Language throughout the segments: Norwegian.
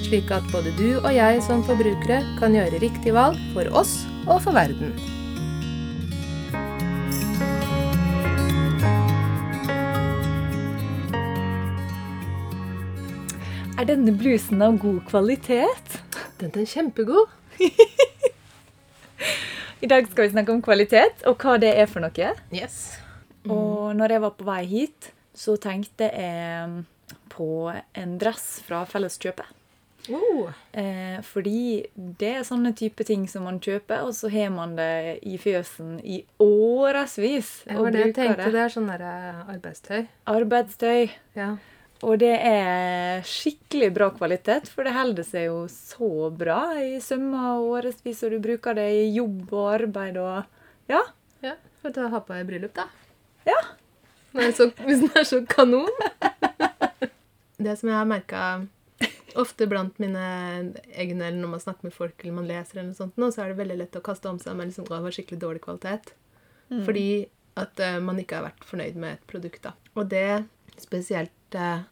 slik at både du og jeg som forbrukere kan gjøre riktig valg for oss og for verden. Er denne blusen av god kvalitet? Den er kjempegod. I dag skal vi snakke om kvalitet og hva det er for noe. Yes. Mm. Og når jeg var på vei hit, så tenkte jeg på en dress fra Felleskjøpet. Oh. Eh, fordi det er sånne type ting som man kjøper, og så har man det i fjøsen i årevis. Det og var det jeg bruker tenkte. Det er sånn der eh, arbeidstøy. Arbeidstøy. Ja. Og det er skikkelig bra kvalitet, for det holder seg jo så bra i sømmer og årevis, og du bruker det i jobb og arbeid og Ja. ja. For å ha på i bryllup, da. Ja. Den er så, hvis den er så kanon. det som jeg har merka ofte blant mine egne, eller når man snakker med folk eller man leser, eller noe sånt, nå, så er det veldig lett å kaste om seg med liksom, «Å, det var skikkelig dårlig kvalitet. Fordi at eh, man ikke har vært fornøyd med et produkt. da. Og det spesielt eh,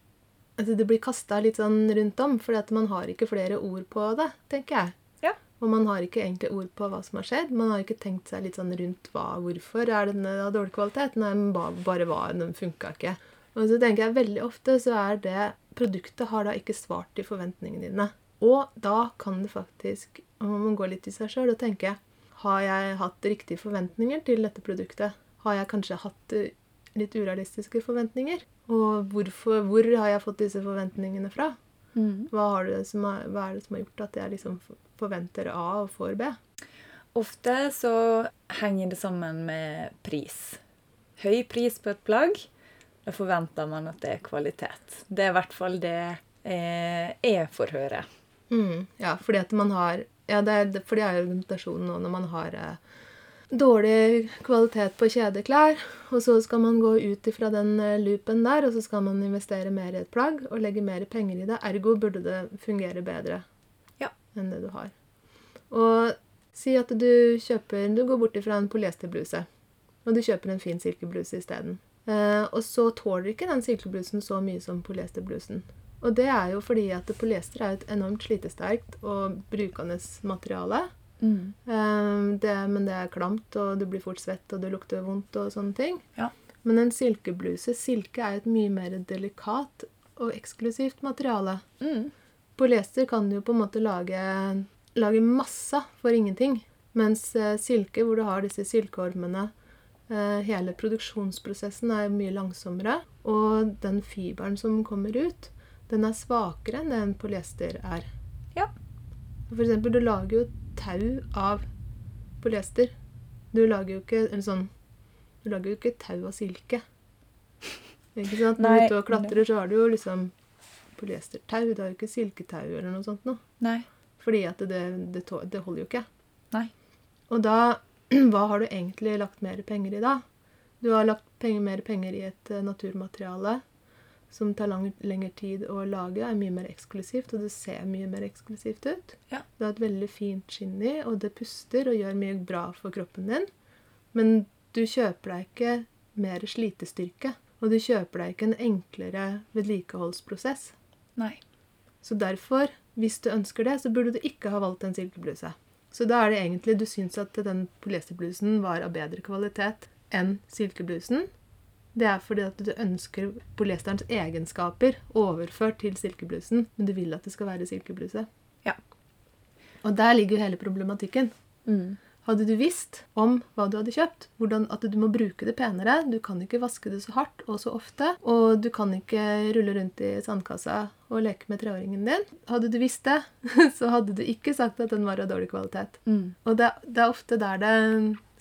altså Det blir kasta litt sånn rundt om, fordi at man har ikke flere ord på det, tenker jeg. Ja. Og man har ikke egentlig ord på hva som har skjedd. Man har ikke tenkt seg litt sånn rundt hva, hvorfor er den av dårlig kvalitet. Nei, den ba- bare var, den funka ikke. Og så tenker jeg veldig ofte så er det Produktet har da ikke svart til forventningene dine. Og da kan det faktisk Man må gå litt i seg sjøl og tenke Har jeg hatt riktige forventninger til dette produktet? Har jeg kanskje hatt eh, litt urealistiske forventninger? Og hvorfor, hvor har jeg fått disse forventningene fra? Mm. Hva, har det som har, hva er det som har gjort at jeg liksom forventer A og får B? Ofte så henger det sammen med pris. Høy pris på et plagg, da forventer man at det er kvalitet. Det er i hvert fall det eh, jeg får høre. Mm, ja, fordi at man har Ja, det er, det- for det er jo argumentasjonen nå når man har eh, dårlig kvalitet på kjedeklær, og så skal man gå ut ifra den eh, loopen der, og så skal man investere mer i et plagg og legge mer penger i det. Ergo burde det fungere bedre Ja. enn det du har. Og si at du kjøper Du går bort ifra en polyesterbluse, og du kjøper en fin silkebluse isteden. Eh, og så tåler ikke den silkeblusen så mye som polyesterblusen. Og det er jo fordi at polyester er et enormt slitesterkt og brukende materiale. Mm. Eh, det, men det er klamt, og du blir fort svett, og det lukter vondt og sånne ting. Ja. Men en silkebluse Silke er et mye mer delikat og eksklusivt materiale. Mm. Polyester kan du jo på en måte lage, lage masse for ingenting. Mens eh, silke, hvor du har disse silkeormene eh, Hele produksjonsprosessen er mye langsommere. Og den fiberen som kommer ut, den er svakere enn det en polyester er. Ja. For eksempel, du lager jo tau av polyester. Du lager jo ikke eller sånn Du lager jo ikke tau av silke. Ikke sant? Når du Nei, er ute og klatrer, så har du jo liksom polyestertau. Du har jo ikke silketau eller noe sånt noe. Nei. Fordi at det, det, tå- det holder jo ikke. Nei. Og da Hva har du egentlig lagt mer penger i da? Du har lagt penger, mer penger i et eh, naturmateriale som tar lang, lengre tid å lage, er mye mer eksklusivt, og det ser mye mer eksklusivt ut. Ja. Det har et veldig fint skinn i, og det puster og gjør mye bra for kroppen din. Men du kjøper deg ikke mer slitestyrke, og du kjøper deg ikke en enklere vedlikeholdsprosess. Nei. Så derfor, hvis du ønsker det, så burde du ikke ha valgt en silkebluse. Så da er det egentlig du syns at den polyesterblusen var av bedre kvalitet enn silkeblusen. Det er fordi at du ønsker polyesterens egenskaper overført til silkeblusen, men du vil at det skal være silkebluse. Ja. Og der ligger jo hele problematikken. Mm. Hadde du visst om hva du hadde kjøpt, hvordan at du må bruke det penere, du kan ikke vaske det så hardt og så ofte, og du kan ikke rulle rundt i sandkassa og leke med treåringen din Hadde du visst det, så hadde du ikke sagt at den var av dårlig kvalitet. Mm. Og det, det er ofte der det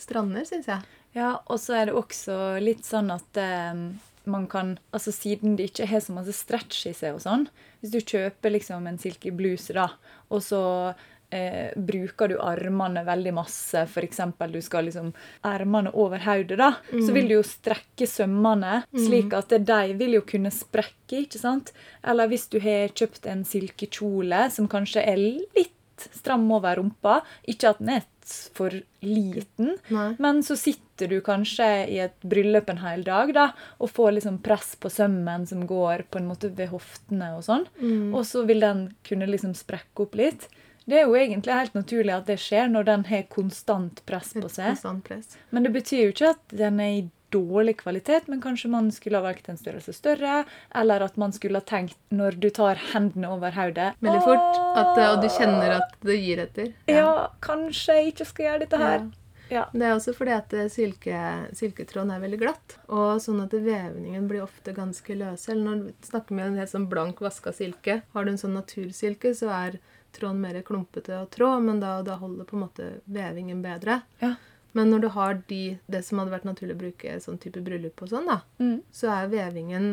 strander, syns jeg. Ja, og så er det også litt sånn at eh, man kan Altså siden det ikke har så masse stretch i seg og sånn Hvis du kjøper liksom en silky bluse, da, og så eh, bruker du armene veldig masse, f.eks. du skal liksom ermene over hodet, da, så vil du jo strekke sømmene, slik at de vil jo kunne sprekke, ikke sant? Eller hvis du har kjøpt en silkekjole som kanskje er litt stram over rumpa, ikke at den er for liten, Nei. men så sitter du kanskje i et bryllup en hel dag da, og får liksom press på sømmen som går på en måte ved hoftene og sånn. Mm. Og så vil den kunne liksom sprekke opp litt. Det er jo egentlig helt naturlig at det skjer når den har konstant press på seg. Konstant press. Men det betyr jo ikke at den er i dårlig kvalitet, men kanskje man skulle ha valgt en størrelse større, eller at man skulle ha tenkt når du tar hendene over hodet Veldig fort. At, eh, og du kjenner at det gir etter. Ja, kanskje jeg ikke skal gjøre dette her. Ja. Det er også fordi at eh, silke, silketråden er veldig glatt, og sånn at vevningen blir ofte ganske løs. Eller når du snakker med en helt sånn blank vaska silke, har du en sånn natursilke, så er tråden mer klumpete og trå, men da, da holder på en måte vevingen bedre. Ja. Men når du har de, det som hadde vært naturlig å bruke i sånn type bryllup og sånn, da, Mm. så er vevingen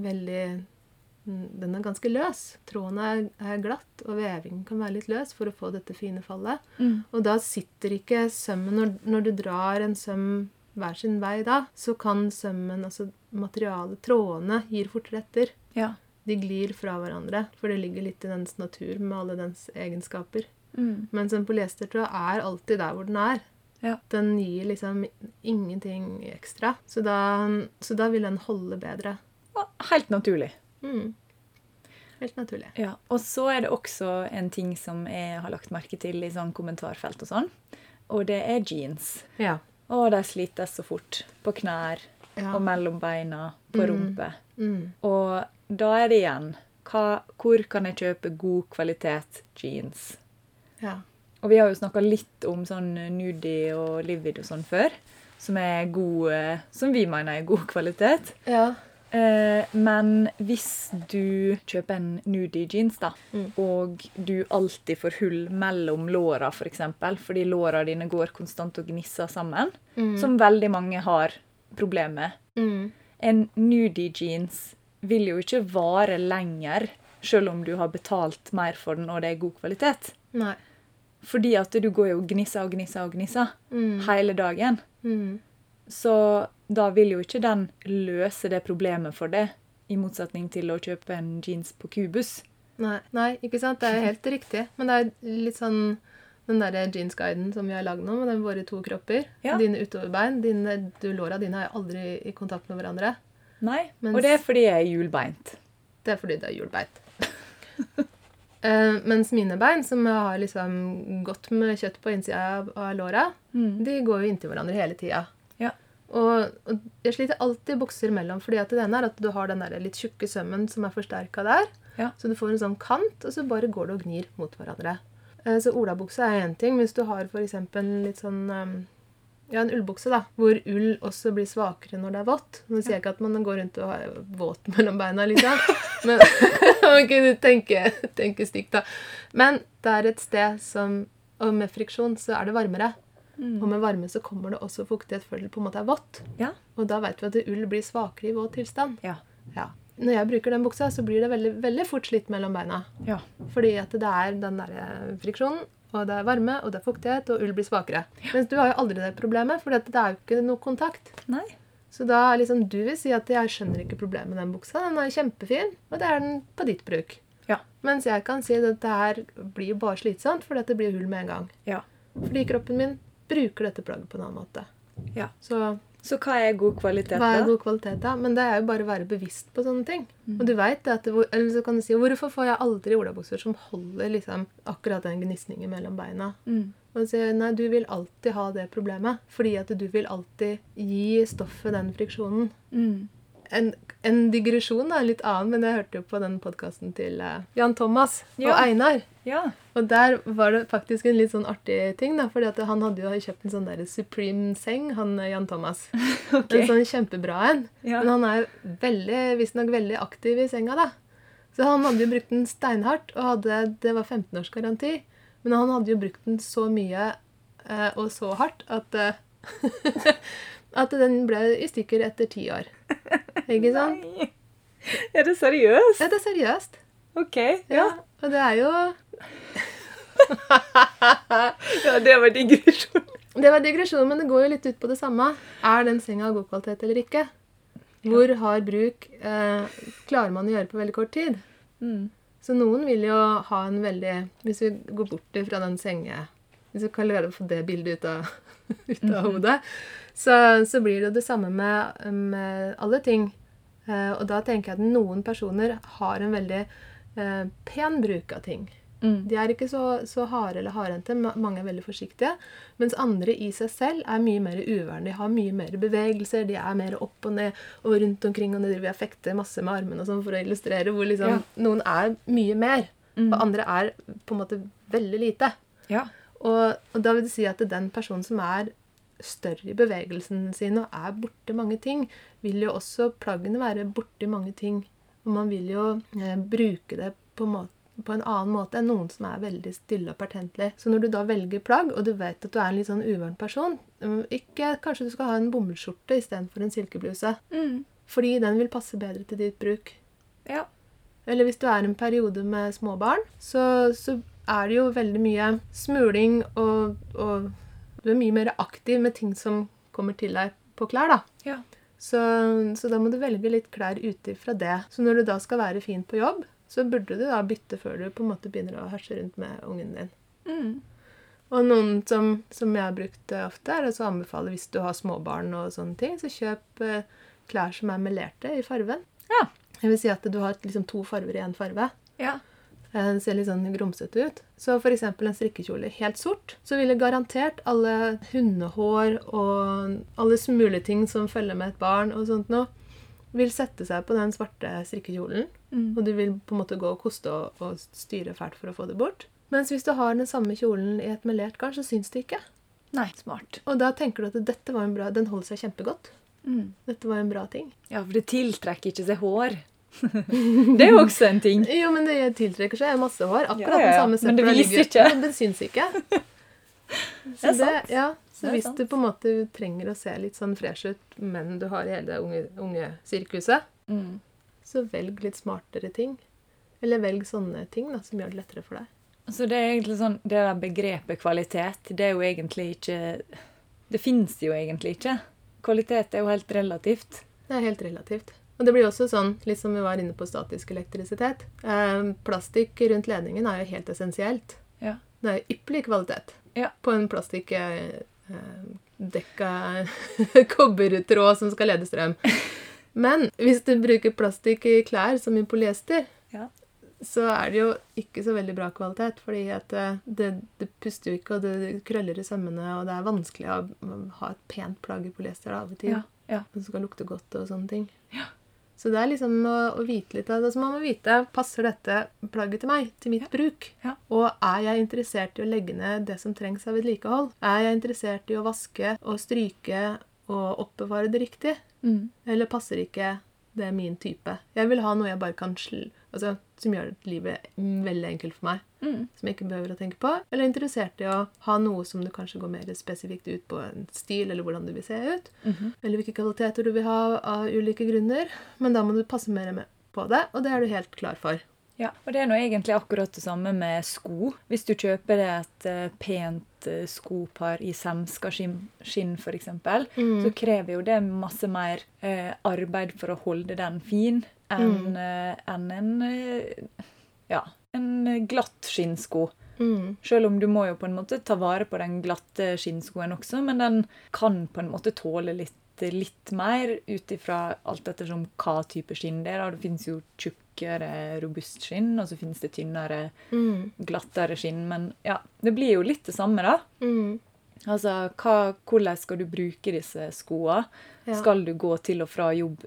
veldig mm, Den er ganske løs. Tråden er, er glatt, og vevingen kan være litt løs for å få dette fine fallet. Mm. Og da sitter ikke sømmen når, når du drar en søm hver sin vei da, så kan sømmen, altså materialet, trådene, gir fortere etter. ja. De glir fra hverandre, for det ligger litt i dens natur med alle dens egenskaper. Mm. Mens en polyestertråd er alltid der hvor den er. Ja. Den gir liksom ingenting ekstra. Så da, så da vil den holde bedre. Og Helt naturlig. Mm. Helt naturlig. Ja, og så er det også en ting som jeg har lagt merke til i sånn kommentarfelt og sånn, og det er jeans. Ja. Å, de slites så fort på knær Ja. og mellom beina, på rumpe. Mm. Og da er det igjen hva, hvor kan jeg kjøpe god kvalitet jeans? ja. Og vi har jo snakka litt om sånn nudie og livid og sånn før, som, er god, eh, som vi mener er god kvalitet. Ja. Eh, men hvis du kjøper en nudie jeans, da, og du alltid får hull mellom låra, f.eks., for eksempel, fordi låra dine går konstant og gnisser sammen, som veldig mange har problemer med Mm. En nudie jeans vil jo ikke vare lenger, selv om du har betalt mer for den og det er god kvalitet. Nei. Fordi at du går jo og gnisser og gnisser og gnisser Mm. hele dagen. Mm. Så da vil jo ikke den løse det problemet for det, i motsetning til å kjøpe en jeans på Kubus. Nei. Nei, ikke sant? Det er jo helt riktig. Men det er litt sånn den derre jeansguiden som vi har lagd nå, med den våre to kropper. Ja. Dine utoverbein. Dine, du, låra dine er aldri i kontakt med hverandre. Nei, Mens- og det er fordi jeg er hjulbeint. Det er fordi det er hjulbeint. Eh, mens mine bein, som har liksom godt med kjøtt på innsida av- av låra, de går jo inntil hverandre hele tida. Ja. Og, og jeg sliter alltid bukser imellom, fordi at det ene er at du har den der litt tjukke sømmen som er forsterka der, Ja. så du får en sånn kant, og så bare går det og gnir mot hverandre. Eh, så olabukse er én ting. Hvis du har f.eks. litt sånn eh, ja, en ullbukse, da, hvor ull også blir svakere når det er vått. Nå sier jeg ikke at man går rundt og har våt mellom beina, liksom. Men man kunne tenke, tenke stygt, da. Men det er et sted som Og med friksjon så er det varmere. Og med varme så kommer det også fuktighet før det på en måte er vått. Ja. Og da vet vi at ull blir svakere i våt tilstand. Ja. Ja. Når jeg bruker den buksa, så blir det veldig, veldig fort slitt mellom beina. Ja. Fordi at det er den der eh, friksjonen, og det er varme, og det er fuktighet, og ull blir svakere. Mens du har jo aldri det problemet, for det er jo ikke noe kontakt. Nei. Så da er liksom du vil si at jeg skjønner ikke problemet med den buksa, den er kjempefin, og det er den på ditt bruk. Ja. Mens jeg kan si at det her blir jo bare slitsomt, fordi at det blir hull med en gang. Ja. Fordi kroppen min bruker dette plagget på en annen måte. Ja. Så Så hva er god kvalitet, hva er da? Mm. god kvalitet, da? Men det er jo bare å være bevisst på sånne ting. Og du vet det at det, hvor- Eller så kan du si Hvorfor får jeg aldri olabukser som holder liksom akkurat den gnisningen mellom beina? Mm. Og så sier jeg, nei, du vil alltid ha det problemet. Fordi at du vil alltid gi stoffet den friksjonen. Mm. En, en digresjon da, litt annen, men jeg hørte jo på den podkasten til eh, Jan Thomas og Ja. Einar. Ja. Og der var det faktisk en litt sånn artig ting, da, fordi at han hadde jo kjøpt en sånn der Supreme-seng, han eh, Jan Thomas. En sånn kjempebra en. Ja. Men han er jo veldig, visstnok veldig aktiv i senga, da. Så han hadde jo brukt den steinhardt, og hadde, det var 15 års garanti. Men han hadde jo brukt den så mye eh, og så hardt at, eh, at den ble i stykker etter ti år. Ikke sant? Nei. Er det seriøst? Ja, det er seriøst. OK. Ja. Ja. Og det er jo ja, det var digresjon. Det var digresjon, men det går jo litt ut på det samme. Er den senga av god kvalitet eller ikke? Hvor hard bruk eh, klarer man å gjøre på veldig kort tid? Mm. Så noen vil jo ha en veldig Hvis vi går bort fra den senge Hvis vi kan klare å få det bildet ut av, ut av hodet, så, så blir det jo det samme med, med alle ting. Eh, og da tenker jeg at noen personer har en veldig eh, pen bruk av ting. De er ikke så, så harde eller hardhendte. ma- Mange er veldig forsiktige. Mens andre i seg selv er mye mer uværende. De har mye mer bevegelser. De er mer opp og ned og rundt omkring. Og de driver og fekter masse med armene og sånn for å illustrere hvor liksom, Ja. noen er mye mer. Mm. Og andre er på en måte veldig lite. Ja. Og, og da vil det si at den personen som er større i bevegelsen sin og er borti mange ting, vil jo også plaggene være borti mange ting. Og man vil jo eh, bruke det på, må- på en annen måte enn noen som er veldig stille og pertentlig. Så når du da velger plagg, og du vet at du er en litt sånn uvøren person mm, ikke, Kanskje du skal ha en bomullsskjorte istedenfor en silkebluse. Mm. Fordi den vil passe bedre til ditt bruk. Ja. Eller hvis du er i en periode med småbarn, så, så er det jo veldig mye smuling, og, og du er mye mer aktiv med ting som kommer til deg på klær, da. Ja. Så, så da må du velge litt klær ut ifra det. Så når du da skal være fin på jobb, så burde du da bytte før du på en måte begynner å herse rundt med ungen din. Mm. Og noen som, som jeg har brukt eh, ofte, er altså å anbefale hvis du har småbarn og sånne ting, så kjøp eh, klær som er melerte i farven. Ja. Det vil si at du har liksom to farver i én farve. Ja. Eh, Den ser litt sånn grumsete ut. Så f.eks. en strikkekjole helt sort, så ville garantert alle hundehår og alle smuleting som følger med et barn og sånt noe, vil sette seg på den svarte strikkekjolen. Mm. Og du vil på en måte gå og koste og, og styre fælt for å få det bort. Mens hvis du har den samme kjolen i et melert garn, så syns det ikke. Nei. Smart. Og da tenker du at dette var en bra, den holder seg kjempegodt. Mm. Dette var en bra ting. Ja, for det tiltrekker ikke seg hår. det er jo også en ting. Jo, men det tiltrekker seg masse hår. Akkurat Ja, ja, ja. den samme Men det søpla viser ligger- ikke. Men det syns ikke. Så Det er sant. ja, så Det er hvis sant. du på en måte trenger å se litt sånn fresh ut, men du har hele det unge, unge sirkuset, Mm. så velg litt smartere ting. Eller velg sånne ting da, som gjør det lettere for deg. Så det er egentlig sånn, det der begrepet kvalitet, det er jo egentlig ikke Det fins jo egentlig ikke. Kvalitet er jo helt relativt. Det er helt relativt. Og det blir også sånn, litt som vi var inne på statisk elektrisitet. Eh, plastikk rundt ledningen er jo helt essensielt. Ja. Det er jo ypperlig kvalitet Ja. på en eh, plastikkdekka kobbertråd som skal lede strøm. Men hvis du bruker plastikk i klær som i polyester, Ja. så er det jo ikke så veldig bra kvalitet, fordi at eh, det, det puster jo ikke, og det krøller i sømmene, og det er vanskelig å ha et pent plagg i polyester da, av og til. Ja. ja. Det skal lukte godt og sånne ting. Så det er liksom å, å vite litt av det. Så man må vite passer dette plagget til meg, til mitt bruk. Ja. Og er jeg interessert i å legge ned det som trengs av vedlikehold? Er jeg interessert i å vaske og stryke og oppbevare det riktig? Mm. Eller passer ikke det er min type? Jeg vil ha noe jeg bare kan sl... Altså, som gjør livet veldig enkelt for meg. Mm. Som jeg ikke behøver å tenke på. Eller er interessert i å ha noe som du kanskje går mer spesifikt ut på en stil, eller hvordan du vil se ut Mhm. eller hvilke kvaliteter du vil ha av ulike grunner, men da må du passe mer med på det, og det er du helt klar for. Ja, og Det er nå egentlig akkurat det samme med sko. Hvis du kjøper deg et eh, pent eh, skopar i semska skinn, skinn f.eks., Mm. så krever jo det masse mer eh, arbeid for å holde den fin enn eh, enn en eh, ja, en glatt skinnsko. Selv om du må jo på en måte ta vare på den glatte skinnskoen også, men den kan på en måte tåle litt, litt mer ut ifra alt ettersom hva type skinn det er. da. Det fins jo tjukkere, robust skinn, og så fins det tynnere, glattere skinn. Men ja, det blir jo litt det samme, da. Altså, hva, hvordan skal du bruke disse skoene? Ja. Skal du gå til og fra jobb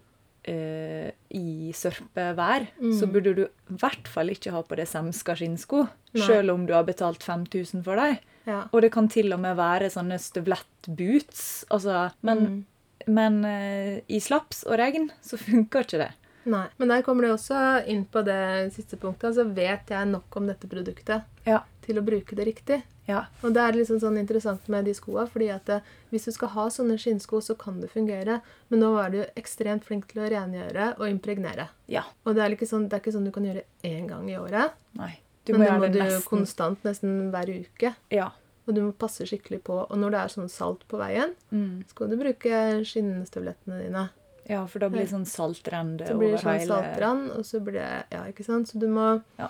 eh, i sørpevær, så Mm. burde du i hvert fall ikke ha på deg semska skinnsko, Nei. selv om du har betalt 5000 for dem. Ja. Og det kan til og med være sånne Mm. støvlettboots. Altså, men men eh, i slaps og regn så funker ikke det. Nei. Men der kommer det også inn på det siste punktet. Så vet jeg nok om dette produktet Ja. til å bruke det riktig. Ja. Og det er liksom sånn interessant med de skoa, fordi at eh, hvis du skal ha sånne skinnsko, så kan det fungere. Men nå var du jo ekstremt flink til å rengjøre og impregnere. ja. Og det er, ikke sånn, det er ikke sånn du kan gjøre én gang i året. Nei. Du men må det må gjøre du det jo nesten. konstant nesten hver uke. Ja. Og du må passe skikkelig på. Og når det er sånn salt på veien, Mm. skal du bruke skinnstøvlettene dine. ja, for da blir det sånn saltrende Så blir over det sånn hele saltrann, og så blir det Ja, ikke sant? Så du må Ja.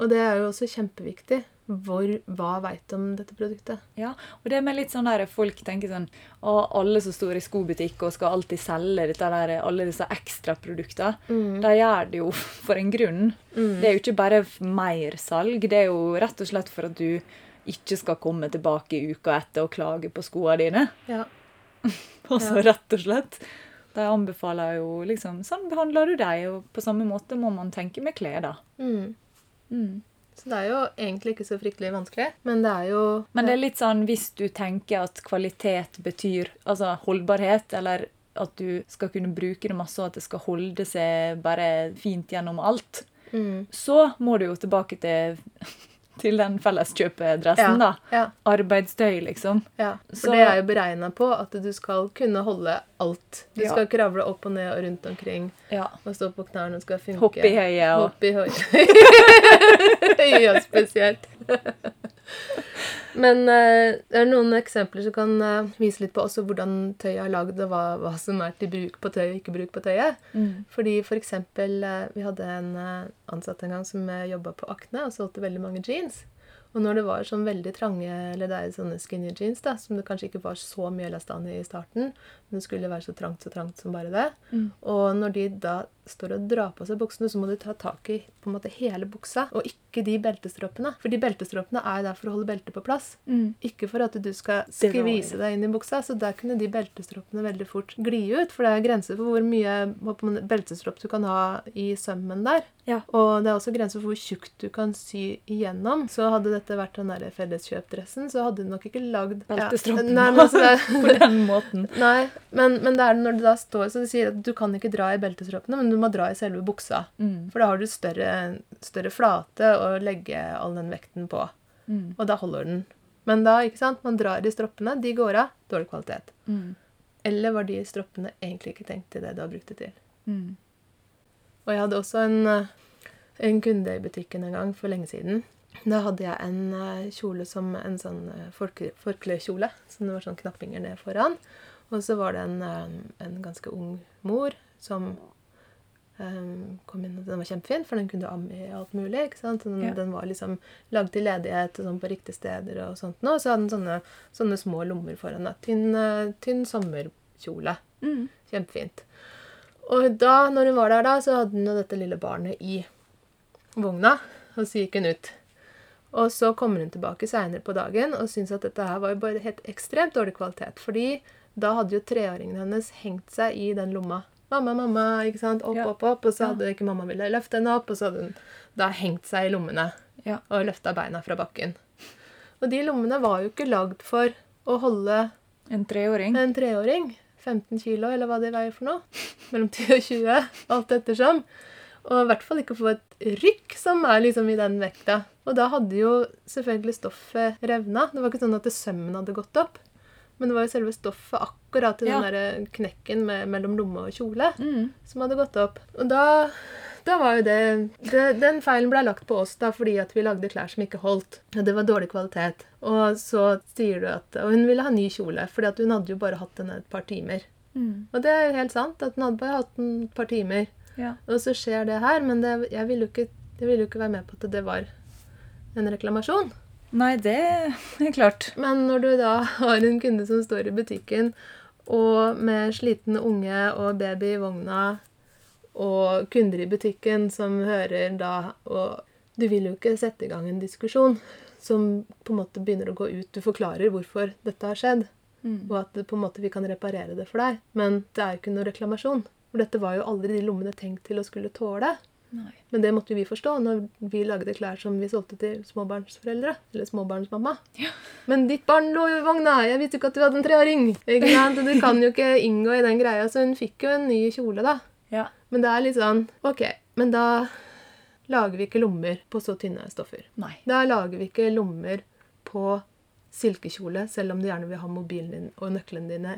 Og det er jo også kjempeviktig. Hvor, hva veit du om dette produktet? Ja, og det med litt sånn der folk tenker sånn Å, alle som står i skobutikk og skal alltid selge dette der, alle disse ekstraproduktene. Mm. De gjør det jo for en grunn. Det er jo ikke bare f- mer salg, det er jo rett og slett for at du ikke skal komme tilbake i uka etter og klage på skoene dine. Ja. Altså rett og slett. De anbefaler jo liksom Sånn behandler du deg, og på samme måte må man tenke med klær, da. Mm. Mm. Så det er jo egentlig ikke så fryktelig vanskelig, men det er jo Men det er litt sånn hvis du tenker at kvalitet betyr altså holdbarhet, eller at du skal kunne bruke det masse, og at det skal holde seg bare fint gjennom alt, mm. så må du jo tilbake til, til den felleskjøpedressen, da. Ja. Arbeidstøy, liksom. ja. For Så- det er jo beregna på at du skal kunne holde alt. Du Ja. skal kravle opp og ned og rundt omkring Ja. og stå på knærne og skal funke. Hoppe i høyet og Hoppe i høyet. Høya spesielt. Men eh, det er noen eksempler som kan eh, vise litt på også hvordan tøyet er lagd, og hva, hva som er til bruk på tøyet og ikke bruk på tøyet. Mm. Fordi for eksempel, eh, vi hadde en eh, ansatt en gang som jobba på Akne og solgte veldig mange jeans. Og når det var sånn veldig trange, eller det er sånne skinny jeans, da, som det kanskje ikke var så mye elastan i i starten, men det skulle være så trangt, så trangt som bare det, Mm. og når de da står og drar på seg buksene, så må du ta tak i på en måte hele buksa, og ikke de beltestroppene. For de beltestroppene er jo der for å holde beltet på plass. Mm. Ikke for at du skal Det var- skvise deg inn i buksa. Så der kunne de beltestroppene veldig fort gli ut. For det er grenser for hvor mye hva på en måte, beltestropp du kan ha i sømmen der. Ja. Og det er også grenser for hvor tjukt du kan sy igjennom. Så hadde dette vært den der felleskjøpdressen, så hadde du nok ikke lagd Beltestroppen. Ja. Nei, men altså, det er, På den måten. Nei, men, men det er når det da står så det sier at du kan ikke dra i beltestroppene, men du må dra i selve buksa. Mm. For da har du større, større flate å legge all den vekten på. Mm. Og da holder den. Men da, ikke sant, man drar i stroppene, de går av, dårlig kvalitet. Mm. Eller var de stroppene egentlig ikke tenkt til det du har brukt det til? Mm. Og jeg hadde også en, eh, en kunde i butikken en gang for lenge siden. Da hadde jeg en eh, kjole som en sånn eh, forkle- forklekjole, som det var sånn knappinger ned foran. Og så var det en, eh, en ganske ung mor som eh, kom inn, og den var kjempefin, for den kunne du amme i alt mulig. ikke sant? Så Den, Ja. den var liksom lagd til ledighet og sånn på riktige steder og sånt. nå. Og så hadde den sånne, sånne små lommer foran. da. Tynn, eh, tynn sommerkjole. Mm. Kjempefint. Og da, når hun var der da, så hadde hun jo dette lille barnet i vogna, og så gikk hun ut. Og så kommer hun tilbake seinere på dagen og syns at dette her var jo bare helt ekstremt dårlig kvalitet. Fordi da hadde jo treåringen hennes hengt seg i den lomma. Mamma, mamma, ikke sant? Opp, Ja. opp, opp. Og så Ja. hadde ikke mamma ville løfte henne opp, og så hadde hun da hengt seg i lommene Ja. og løfta beina fra bakken. Og de lommene var jo ikke lagd for å holde En treåring. en treåring, 15 kilo eller hva de veier for noe, mellom 10 og 20, alt ettersom. Og i hvert fall ikke få et rykk som er liksom i den vekta. Og da hadde jo selvfølgelig stoffet revna. Det var ikke sånn at det sømmen hadde gått opp, men det var jo selve stoffet akkurat i den Ja. der eh, knekken med, mellom lomme og kjole Mm. som hadde gått opp. Og da, da var jo det, det Den feilen ble lagt på oss da fordi at vi lagde klær som ikke holdt. Og det var dårlig kvalitet. Og så sier du at Og hun ville ha ny kjole, fordi at hun hadde jo bare hatt den et par timer. Mm. Og det er jo helt sant, at hun hadde bare hatt den et par timer. Ja. Og så skjer det her, men det, jeg ville jo ikke, jeg ville jo ikke være med på at det var en reklamasjon. Nei, det er klart. Men når du da har en kunde som står i butikken og med sliten unge og baby i vogna og kunder i butikken som hører da og Du vil jo ikke sette i gang en diskusjon som på en måte begynner å gå ut. Du forklarer hvorfor dette har skjedd, og at det på en måte vi kan reparere det for deg. Men det er jo ikke noe reklamasjon. For dette var jo aldri de lommene tenkt til å skulle tåle. Nei. Men det måtte jo vi forstå når vi lagde klær som vi solgte til småbarnsforeldre. Eller småbarnsmamma. Ja. Men ditt barn lå jo i vogna! Jeg visste jo ikke at du hadde en treåring! Ikke sant? Du kan jo ikke inngå i den greia, så hun fikk jo en ny kjole, da. Ja. Men det er litt sånn OK, men da lager vi ikke lommer på så tynne stoffer. Nei. Da lager vi ikke lommer på silkekjole, selv om du gjerne vil ha mobilen din og nøklene dine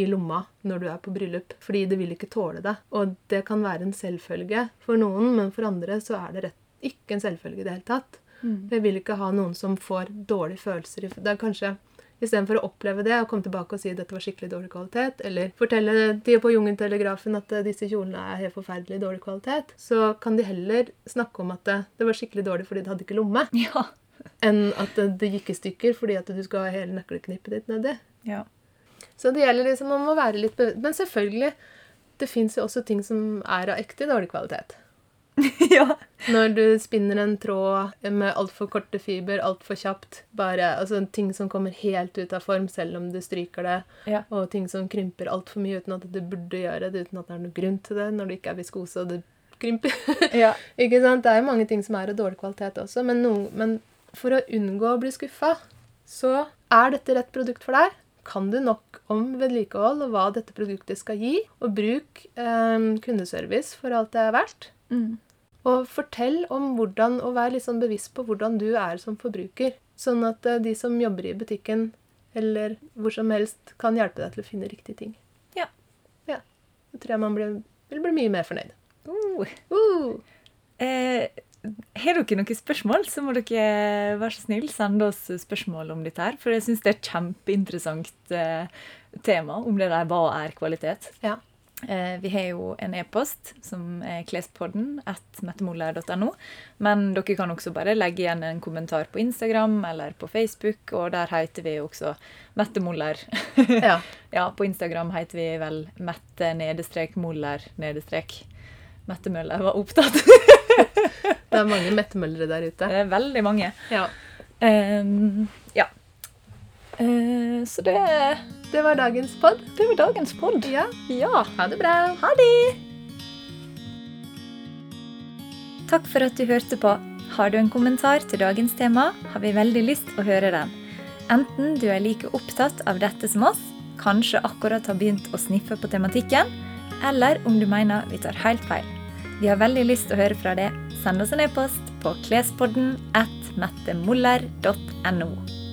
i lomma når du er på bryllup, fordi det vil ikke tåle det. Og det kan være en selvfølge for noen, men for andre så er det rett, ikke en selvfølge i det hele tatt. Mm. Jeg vil ikke ha noen som får dårlige følelser. i- Det er kanskje Istedenfor å oppleve det og komme tilbake og si at dette var skikkelig dårlig kvalitet, eller fortelle de på Jungeltelegrafen at eh, disse kjolene er helt forferdelig dårlig kvalitet, så kan de heller snakke om at eh, det var skikkelig dårlig fordi det hadde ikke lomme, Ja. enn at eh, det gikk i stykker fordi at du skal ha hele nøkkelknippet ditt nedi. ja. Så det gjelder liksom om å være litt bevisst. Men selvfølgelig, det fins jo også ting som er av ekte dårlig kvalitet. ja. Når du spinner en tråd med altfor korte fiber, altfor kjapt. Bare, altså Ting som kommer helt ut av form selv om du stryker det. Ja. Og ting som krymper altfor mye uten at du burde gjøre det, uten at det er noen grunn til det, når du ikke er viskose og det krymper. Ja. ikke sant? Det er jo mange ting som er av dårlig kvalitet også, men, noen, men for å unngå å bli skuffa, så er dette rett produkt for deg. Kan du nok om vedlikehold og hva dette produktet skal gi, og bruk eh, kundeservice for alt det er verdt. Mm. Og fortell om hvordan, og vær litt sånn bevisst på hvordan du er som forbruker. Sånn at eh, de som jobber i butikken, eller hvor som helst, kan hjelpe deg til å finne riktige ting. Ja. Ja. Da tror jeg man blir, vil bli mye mer fornøyd. Uh. Uh! Eh, har dere noen spørsmål, så må dere være så snill sende oss spørsmål om dette her. For jeg syns det er et kjempeinteressant eh, tema, om det der hva er kvalitet. Ja. Eh, vi har jo en e-post som er klespodden at mettemoller.no. Men dere kan også bare legge igjen en kommentar på Instagram eller på Facebook, og der heter vi også Mette Moller. ja. Ja, på Instagram heter vi vel Mette nedestrek Moller nedestrek. Mette Møller var opptatt. Det er mange mettemøllere der ute. Det er veldig mange. Ja. Ehm, ja. Eh, så det, Det var dagens pod. det var dagens pod. Ja. Ja. Ha det bra. Ha det! Takk for at du hørte på. Har du en kommentar til dagens tema, har vi veldig lyst å høre den. Enten du er like opptatt av dette som oss, kanskje akkurat har begynt å sniffe på tematikken, eller om du mener vi tar helt feil. Vi har veldig lyst å høre fra deg. Send oss en e-post på klespodden at mettemoller.no.